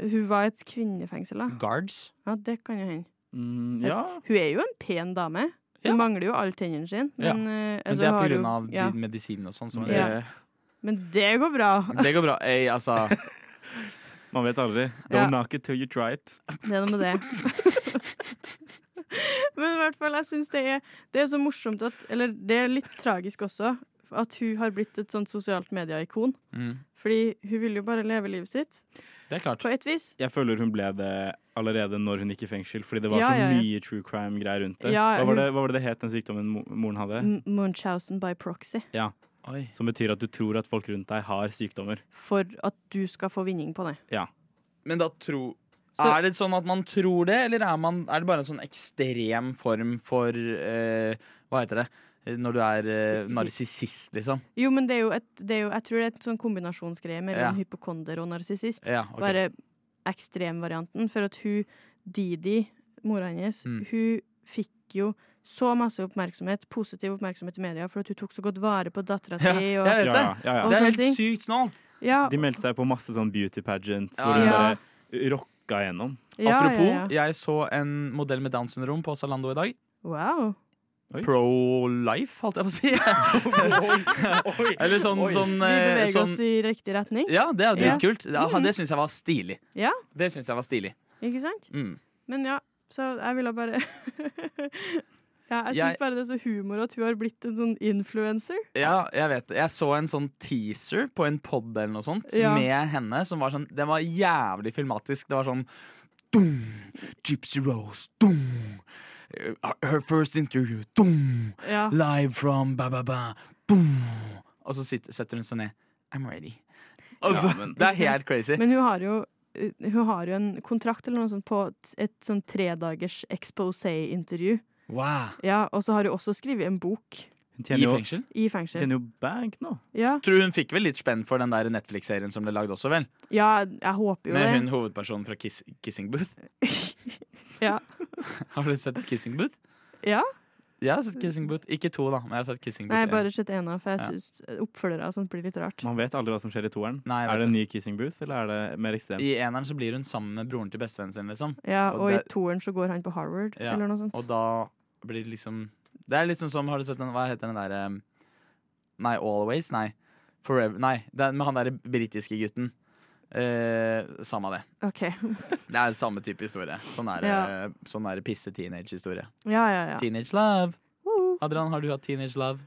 Speaker 4: hun var i et kvinnefengsel, da.
Speaker 3: Guards?
Speaker 4: Ja, det kan jo hende.
Speaker 5: Mm, ja.
Speaker 4: Hun er jo en pen dame. Hun
Speaker 3: Ja.
Speaker 4: mangler jo alle tennene sine.
Speaker 3: Ja.
Speaker 4: Men, eh,
Speaker 3: Men
Speaker 4: altså,
Speaker 3: det er
Speaker 4: har
Speaker 3: på
Speaker 4: hun-
Speaker 3: grunn av de
Speaker 4: ja.
Speaker 3: medisinene og sånn. som-
Speaker 4: Ja.
Speaker 5: Eh,
Speaker 4: Men det går bra.
Speaker 3: Det går bra. Ey, altså.
Speaker 5: Man vet aldri.
Speaker 4: Ja.
Speaker 5: Don't knock it till you try it.
Speaker 4: Det er noe med det. Men i hvert fall, jeg syns det er Det er så morsomt at Eller det er litt tragisk også, at hun har blitt et sånt sosialt media-ikon.
Speaker 3: Mm.
Speaker 4: Fordi hun vil jo bare leve livet sitt,
Speaker 3: Det er klart.
Speaker 4: på et vis.
Speaker 5: Jeg føler hun ble det allerede når hun gikk i fengsel, fordi det var
Speaker 4: Ja,
Speaker 5: så
Speaker 4: ja, ja.
Speaker 5: mye true crime-greier rundt det.
Speaker 4: Ja,
Speaker 5: hva, var
Speaker 4: hun- Mm.
Speaker 5: det. hva var det det het, den sykdommen mo- moren hadde?
Speaker 4: M- Munchausen by proxy.
Speaker 3: Oi.
Speaker 5: Som betyr at du tror at folk rundt deg har sykdommer.
Speaker 4: For at du skal få vinning på det.
Speaker 3: Men da tror Er det sånn at man tror det, eller er, man, er det bare en sånn ekstrem form for eh, Hva heter det? Eh, Når du er uh, narsissist, liksom?
Speaker 4: Jo, men det er jo et, det er jo, jeg tror det er et sånn kombinasjonsgreie mellom
Speaker 3: Ja.
Speaker 4: hypokonder og narsissist.
Speaker 3: Ja, ok.
Speaker 4: Bare ekstremvarianten. For at hun, Didi, mora hennes,
Speaker 3: Mm.
Speaker 4: hun fikk jo så masse oppmerksomhet, positiv oppmerksomhet i media, for at hun tok så godt vare på dattera
Speaker 3: Ja,
Speaker 4: si.
Speaker 3: jeg
Speaker 4: Og,
Speaker 3: vet det.
Speaker 5: Ja, ja, ja.
Speaker 4: Og
Speaker 3: Det er
Speaker 4: sånne
Speaker 3: helt
Speaker 4: ting.
Speaker 3: sykt snålt.
Speaker 4: ja,
Speaker 5: De meldte seg på masse sånn beauty pageants hvor
Speaker 3: Ja,
Speaker 5: hun
Speaker 4: ja.
Speaker 5: bare rocka gjennom.
Speaker 4: ja,
Speaker 3: Apropos,
Speaker 4: ja, ja.
Speaker 3: jeg så en modell med Downs syndrom på Zalando i dag.
Speaker 4: Wow.
Speaker 5: Oi.
Speaker 3: Pro-life, holdt jeg på å si. eller sånn,
Speaker 5: Oi.
Speaker 3: sånn,
Speaker 4: Vi
Speaker 3: eh,
Speaker 4: beveger
Speaker 3: sånn
Speaker 4: oss i riktig retning,
Speaker 3: Ja, det er jo
Speaker 4: Ja. Mm.
Speaker 3: dritkult. Det, det syns jeg var stilig.
Speaker 4: Ja.
Speaker 3: Det syns jeg var stilig.
Speaker 4: ikke sant?
Speaker 3: Mm.
Speaker 4: Men ja, så jeg ville bare Ja, jeg
Speaker 3: Jeg-
Speaker 4: syns bare det er så humor at hun har blitt en sånn influencer.
Speaker 3: Ja, jeg vet det. Jeg så en sånn teaser på en pod eller noe sånt
Speaker 4: Ja.
Speaker 3: med henne. Som var sånn, den var jævlig filmatisk. Det var sånn dum, Gypsy Rose. Dum. uh, Her first interview. Dum.
Speaker 4: Ja.
Speaker 3: Live from ba-ba-ba. Dum. Og så sitter, setter hun seg ned. I'm ready. Altså, det er helt crazy.
Speaker 4: Men hun har jo eh, hun har jo en kontrakt eller noe sånt på et- et sånn tredagers exposé-intervju.
Speaker 3: wow.
Speaker 4: Ja, Og så har hun også skrevet en bok
Speaker 5: Hun
Speaker 3: I
Speaker 5: tjener jo,
Speaker 3: fengsel?
Speaker 4: i fengsel.
Speaker 5: tjener jo bank nå.
Speaker 4: Ja,
Speaker 3: Tror hun fikk vel litt spenn for den der Netflix-serien som ble lagd også, vel?
Speaker 4: ja jeg håper jo
Speaker 3: Med hun
Speaker 4: det.
Speaker 3: hovedpersonen fra Kiss, Kissing Booth.
Speaker 4: Ja.
Speaker 3: Har du sett Kissing Booth?
Speaker 4: Ja.
Speaker 3: Jeg har sett Kissing Booth. Ikke to, da. men jeg har sett Kissing Booth
Speaker 4: Nei,
Speaker 3: en.
Speaker 4: bare sett en av, for jeg
Speaker 3: Ja.
Speaker 4: syns oppfølgere og sånt blir litt rart.
Speaker 5: Man vet aldri hva som skjer i toeren.
Speaker 3: Nei, jeg vet
Speaker 5: er det en ny Kissing Booth, eller er det mer ekstremt?
Speaker 3: I eneren så blir hun sammen med broren til bestevennen sin, liksom.
Speaker 4: Ja,
Speaker 3: Og
Speaker 4: Og i
Speaker 3: der-
Speaker 4: toeren så går han på Harvard,
Speaker 3: Ja,
Speaker 4: eller noe sånt.
Speaker 3: Og da blir det liksom Det er litt sånn som Har du sett den Hva heter den derre Nei, Always? Nei. Forever Nei, det er med han derre britiske gutten. Eh, samme det.
Speaker 4: OK.
Speaker 3: Det er samme type historie. Sånn er det
Speaker 4: Ja.
Speaker 3: sånn er det pisse teenage-historie.
Speaker 4: Ja, ja, ja.
Speaker 3: Teenage love.
Speaker 4: Woo.
Speaker 3: Adrian, har du hatt teenage love?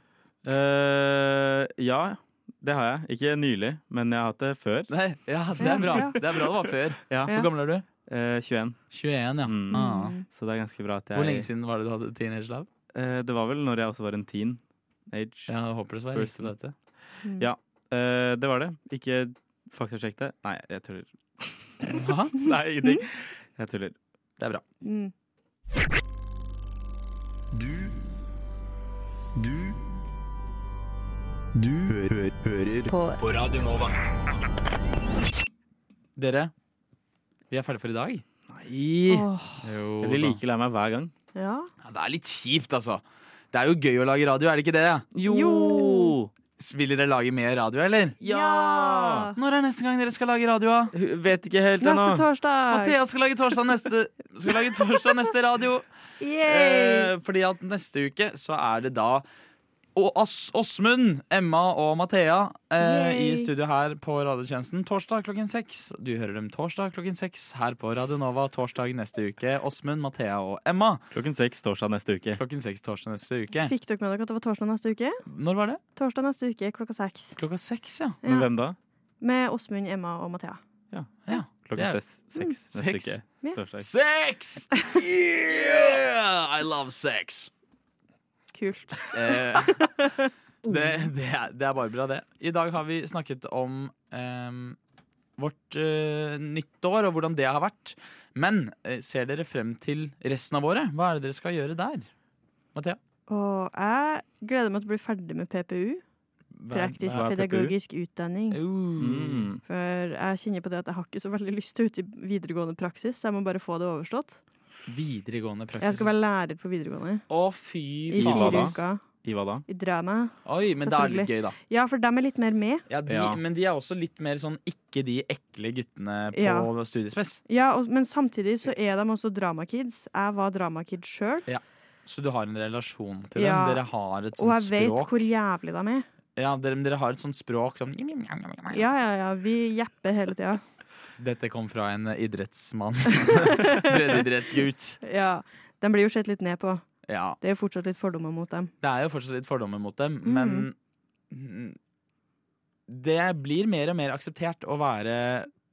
Speaker 5: Eh, ja, det har jeg. Ikke nylig, men jeg har hatt det før.
Speaker 3: Nei, ja, det er bra.
Speaker 4: Ja.
Speaker 3: Det er bra det var før.
Speaker 5: Ja,
Speaker 4: Ja.
Speaker 3: Hvor gammel er du?
Speaker 5: eh, 21.
Speaker 3: 21, ja.
Speaker 5: Mm.
Speaker 3: Ah.
Speaker 4: Mm.
Speaker 5: Så det er ganske bra at jeg
Speaker 3: Hvor lenge siden var det du hadde teenage love?
Speaker 5: Eh, det var vel når jeg også var en teen age.
Speaker 3: Ja, jeg håper det var riktig
Speaker 5: Person.
Speaker 3: dette.
Speaker 4: Mm.
Speaker 5: Ja. Eh, det var det. Ikke faktasjekk det. Nei, jeg tuller.
Speaker 3: Hva?
Speaker 5: Nei, ingenting. Jeg tuller.
Speaker 3: Det er bra.
Speaker 4: Mm.
Speaker 2: Du Du Du hø hø hører på. på Radio Nova.
Speaker 3: Dere, Vi er ferdige for i dag.
Speaker 5: Nei.
Speaker 4: Åh,
Speaker 3: Jo,
Speaker 5: Jeg blir like lei meg hver gang.
Speaker 4: ja.
Speaker 3: Ja, det er litt kjipt, altså. Det er jo gøy å lage radio, er det ikke det?
Speaker 5: Jo!
Speaker 3: Vil dere lage mer radio, eller?
Speaker 5: Ja!
Speaker 3: Når er neste gang dere skal lage radio? da?
Speaker 5: Hun Vet ikke helt
Speaker 4: Neste
Speaker 5: ennå.
Speaker 4: torsdag!
Speaker 3: Mathea skal lage torsdag neste Skal lage torsdag neste radio.
Speaker 4: Yay!
Speaker 3: Eh, fordi at neste uke så er det da og As Åsmund, Emma og Mathea eh, i
Speaker 4: Yay.
Speaker 3: studio her på Radiotjenesten torsdag klokken seks. Du hører dem torsdag klokken seks her på Radio Nova torsdag neste uke. Åsmund, Mathea og Emma
Speaker 5: Klokken seks torsdag neste uke.
Speaker 3: klokken seks torsdag neste uke.
Speaker 4: Fikk dere med dere at det var torsdag neste uke?
Speaker 3: Når var det?
Speaker 4: Torsdag neste uke klokka seks.
Speaker 3: Klokka seks, ja.
Speaker 5: Men
Speaker 4: Ja.
Speaker 5: hvem da?
Speaker 4: Med Åsmund, Emma og Mathea.
Speaker 3: ja.
Speaker 5: Klokken
Speaker 3: Det er-
Speaker 5: seks, Mm, seks neste
Speaker 3: Seks.
Speaker 4: Ja.
Speaker 5: uke. Torsdag.
Speaker 3: Sex! Yeah! I love sex.
Speaker 4: Kult.
Speaker 3: Eh,
Speaker 4: Mm.
Speaker 3: det, det, er, det er bare bra, det. I dag har vi snakket om ehm, vårt eh, nyttår og hvordan det har vært. Men eh, ser dere frem til resten av året? Hva er det dere skal gjøre der? Mathea?
Speaker 4: Og jeg gleder meg til å bli ferdig med PPU.
Speaker 3: Hva er-
Speaker 4: Praktisk
Speaker 5: hva er PPU?
Speaker 4: pedagogisk utdanning.
Speaker 3: Uh,
Speaker 5: Mm.
Speaker 4: For jeg kjenner på det at jeg har ikke så veldig lyst til ut i videregående praksis. Så jeg må bare få det overstått.
Speaker 3: videregående
Speaker 4: Jeg
Speaker 3: praksis.
Speaker 4: skal være lærer på videregående
Speaker 3: Å, fy
Speaker 4: i
Speaker 5: hva
Speaker 4: fire
Speaker 5: da?
Speaker 3: faen.
Speaker 4: uker.
Speaker 5: I hva da?
Speaker 4: I drama.
Speaker 3: Oi, men det er litt gøy, da.
Speaker 4: Ja, for dem er litt mer med.
Speaker 3: Ja, de,
Speaker 5: Ja.
Speaker 3: Men de er også litt mer sånn ikke de ekle guttene på
Speaker 4: Ja.
Speaker 3: studiespes.
Speaker 4: Ja, og, Men samtidig så er de også dramakids. Jeg var dramakid sjøl,
Speaker 3: Så du har en relasjon til
Speaker 4: Ja.
Speaker 3: dem? Dere har et
Speaker 4: og
Speaker 3: sånt
Speaker 4: jeg vet
Speaker 3: språk?
Speaker 4: hvor jævlig de er.
Speaker 3: Ja, dere, men dere har et sånt språk som ja.
Speaker 4: Ja, ja, ja. Vi jepper hele tida.
Speaker 3: Dette kom fra en idrettsmann. Breddeidrettsgutt.
Speaker 4: Ja. De blir jo sett litt ned på.
Speaker 3: Ja.
Speaker 4: Det er jo fortsatt litt fordommer mot dem.
Speaker 3: Det er jo fortsatt litt fordommer mot dem, men mm, det blir mer og mer akseptert å være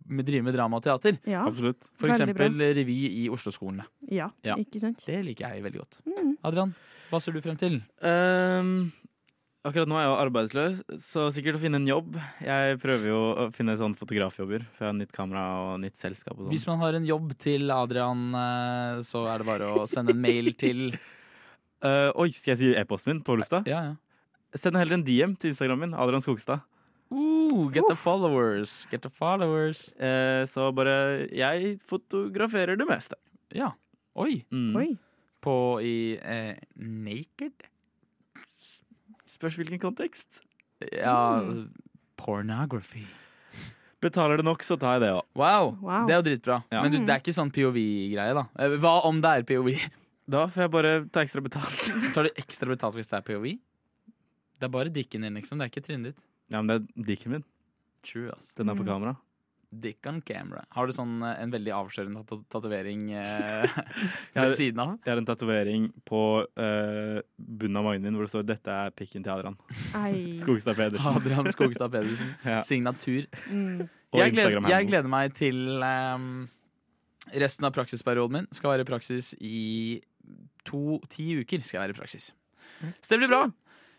Speaker 3: med, drive med drama og teater.
Speaker 4: Ja,
Speaker 5: Absolutt.
Speaker 3: For
Speaker 4: Veldig bra.
Speaker 3: eksempel revy i Oslo-skolene.
Speaker 4: ja,
Speaker 3: Ja.
Speaker 4: ikke sant?
Speaker 3: Det liker jeg veldig godt.
Speaker 4: Mm.
Speaker 3: Adrian, hva ser du frem til?
Speaker 5: Ehm, akkurat nå er jeg jo arbeidsløs, så sikkert å finne en jobb. Jeg prøver jo å finne sånne fotografjobber, for jeg har nytt kamera og nytt selskap og
Speaker 3: Hvis
Speaker 5: sånn.
Speaker 3: man har en jobb til Adrian, eh, så er det bare å sende en mail til
Speaker 5: Eh, oi, skal jeg si e-posten min på lufta?
Speaker 3: Ja, ja.
Speaker 5: Send heller en DM til Instagram min, Adrian Skogstad.
Speaker 3: Ooh, Uh, get the followers. Get the followers.
Speaker 5: Eh, så bare Jeg fotograferer det meste.
Speaker 3: Ja. Oi.
Speaker 5: Mm.
Speaker 4: Oi.
Speaker 3: På i eh, Naked?
Speaker 5: Spørs hvilken kontekst.
Speaker 3: Ja, altså, pornography.
Speaker 5: Betaler det nok, så tar jeg det òg.
Speaker 3: Wow.
Speaker 4: Wow.
Speaker 3: Det er jo dritbra.
Speaker 5: Ja.
Speaker 3: Men du, det er ikke sånn POV-greie, da. Eh, Hva om det er POV?
Speaker 5: Da får jeg bare ta ekstra betalt.
Speaker 3: Tar du ekstra betalt hvis det er POV? Det er bare dikken din, liksom. Det er ikke trinnet ditt.
Speaker 5: Ja, men det er dikken min.
Speaker 3: True, ass.
Speaker 5: Den er på
Speaker 4: Mm.
Speaker 5: kamera.
Speaker 3: Dick on camera. Har du sånn eh, en veldig avslørende tat- tatovering eh,
Speaker 5: Ja,
Speaker 3: ved
Speaker 5: det-
Speaker 3: siden av?
Speaker 5: Jeg har en tatovering på eh, bunnen av magen min hvor det står 'Dette er pikken til Adrian'.
Speaker 4: Ei.
Speaker 5: Skogstad Pedersen.
Speaker 3: Adrian Skogstad Pedersen.
Speaker 5: Ja.
Speaker 3: Signatur.
Speaker 4: Mm.
Speaker 5: Og
Speaker 3: jeg, gleder,
Speaker 5: Instagram-handelen.
Speaker 3: jeg gleder meg til ehm, resten av praksisperioden min. Skal være i praksis i to, ti uker. skal jeg være i praksis Så det blir bra.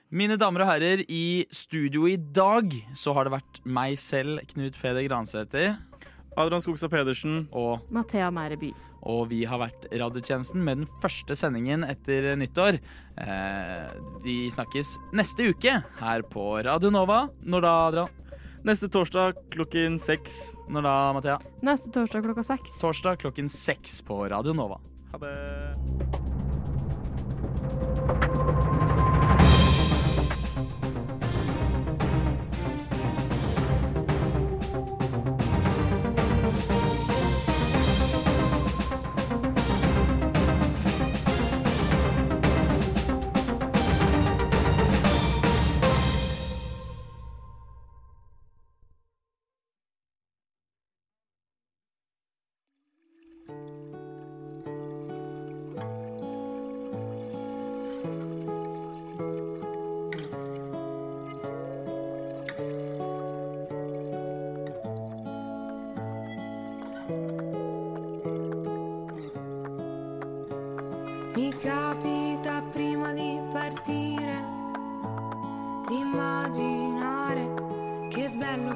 Speaker 3: Mine damer og herrer, i studio i dag så har det vært meg selv, Knut Peder Gransæter,
Speaker 5: Adrian Skogstad Pedersen.
Speaker 3: og,
Speaker 4: Mathea Mæreby.
Speaker 3: og vi har vært Radiotjenesten med den første sendingen etter nyttår. Eh, vi snakkes neste uke her på Radio Nova. Når da, Adrian?
Speaker 5: Neste torsdag klokken seks.
Speaker 3: Når da, Mathea?
Speaker 4: Neste torsdag klokka seks.
Speaker 3: Torsdag klokken seks på Radio Nova.
Speaker 5: Ha det.
Speaker 7: Mi capita prima di partire di immaginare che bello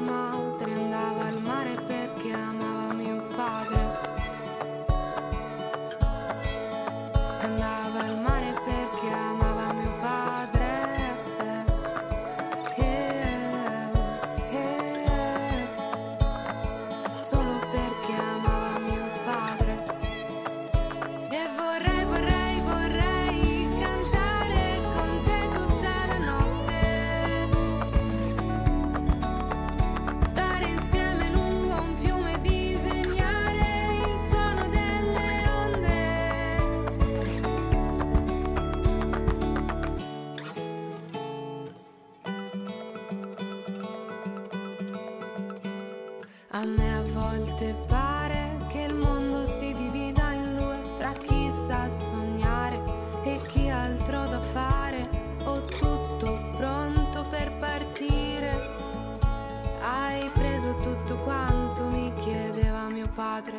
Speaker 7: madre andava al mare perché amava mio padre. Andava al mare perché amava mio padre. Eh, A me a volte pare che il mondo si divida in due tra chi sa sognare e chi ha altro da fare. Ho tutto pronto per partire. Hai preso tutto quanto mi chiedeva mio padre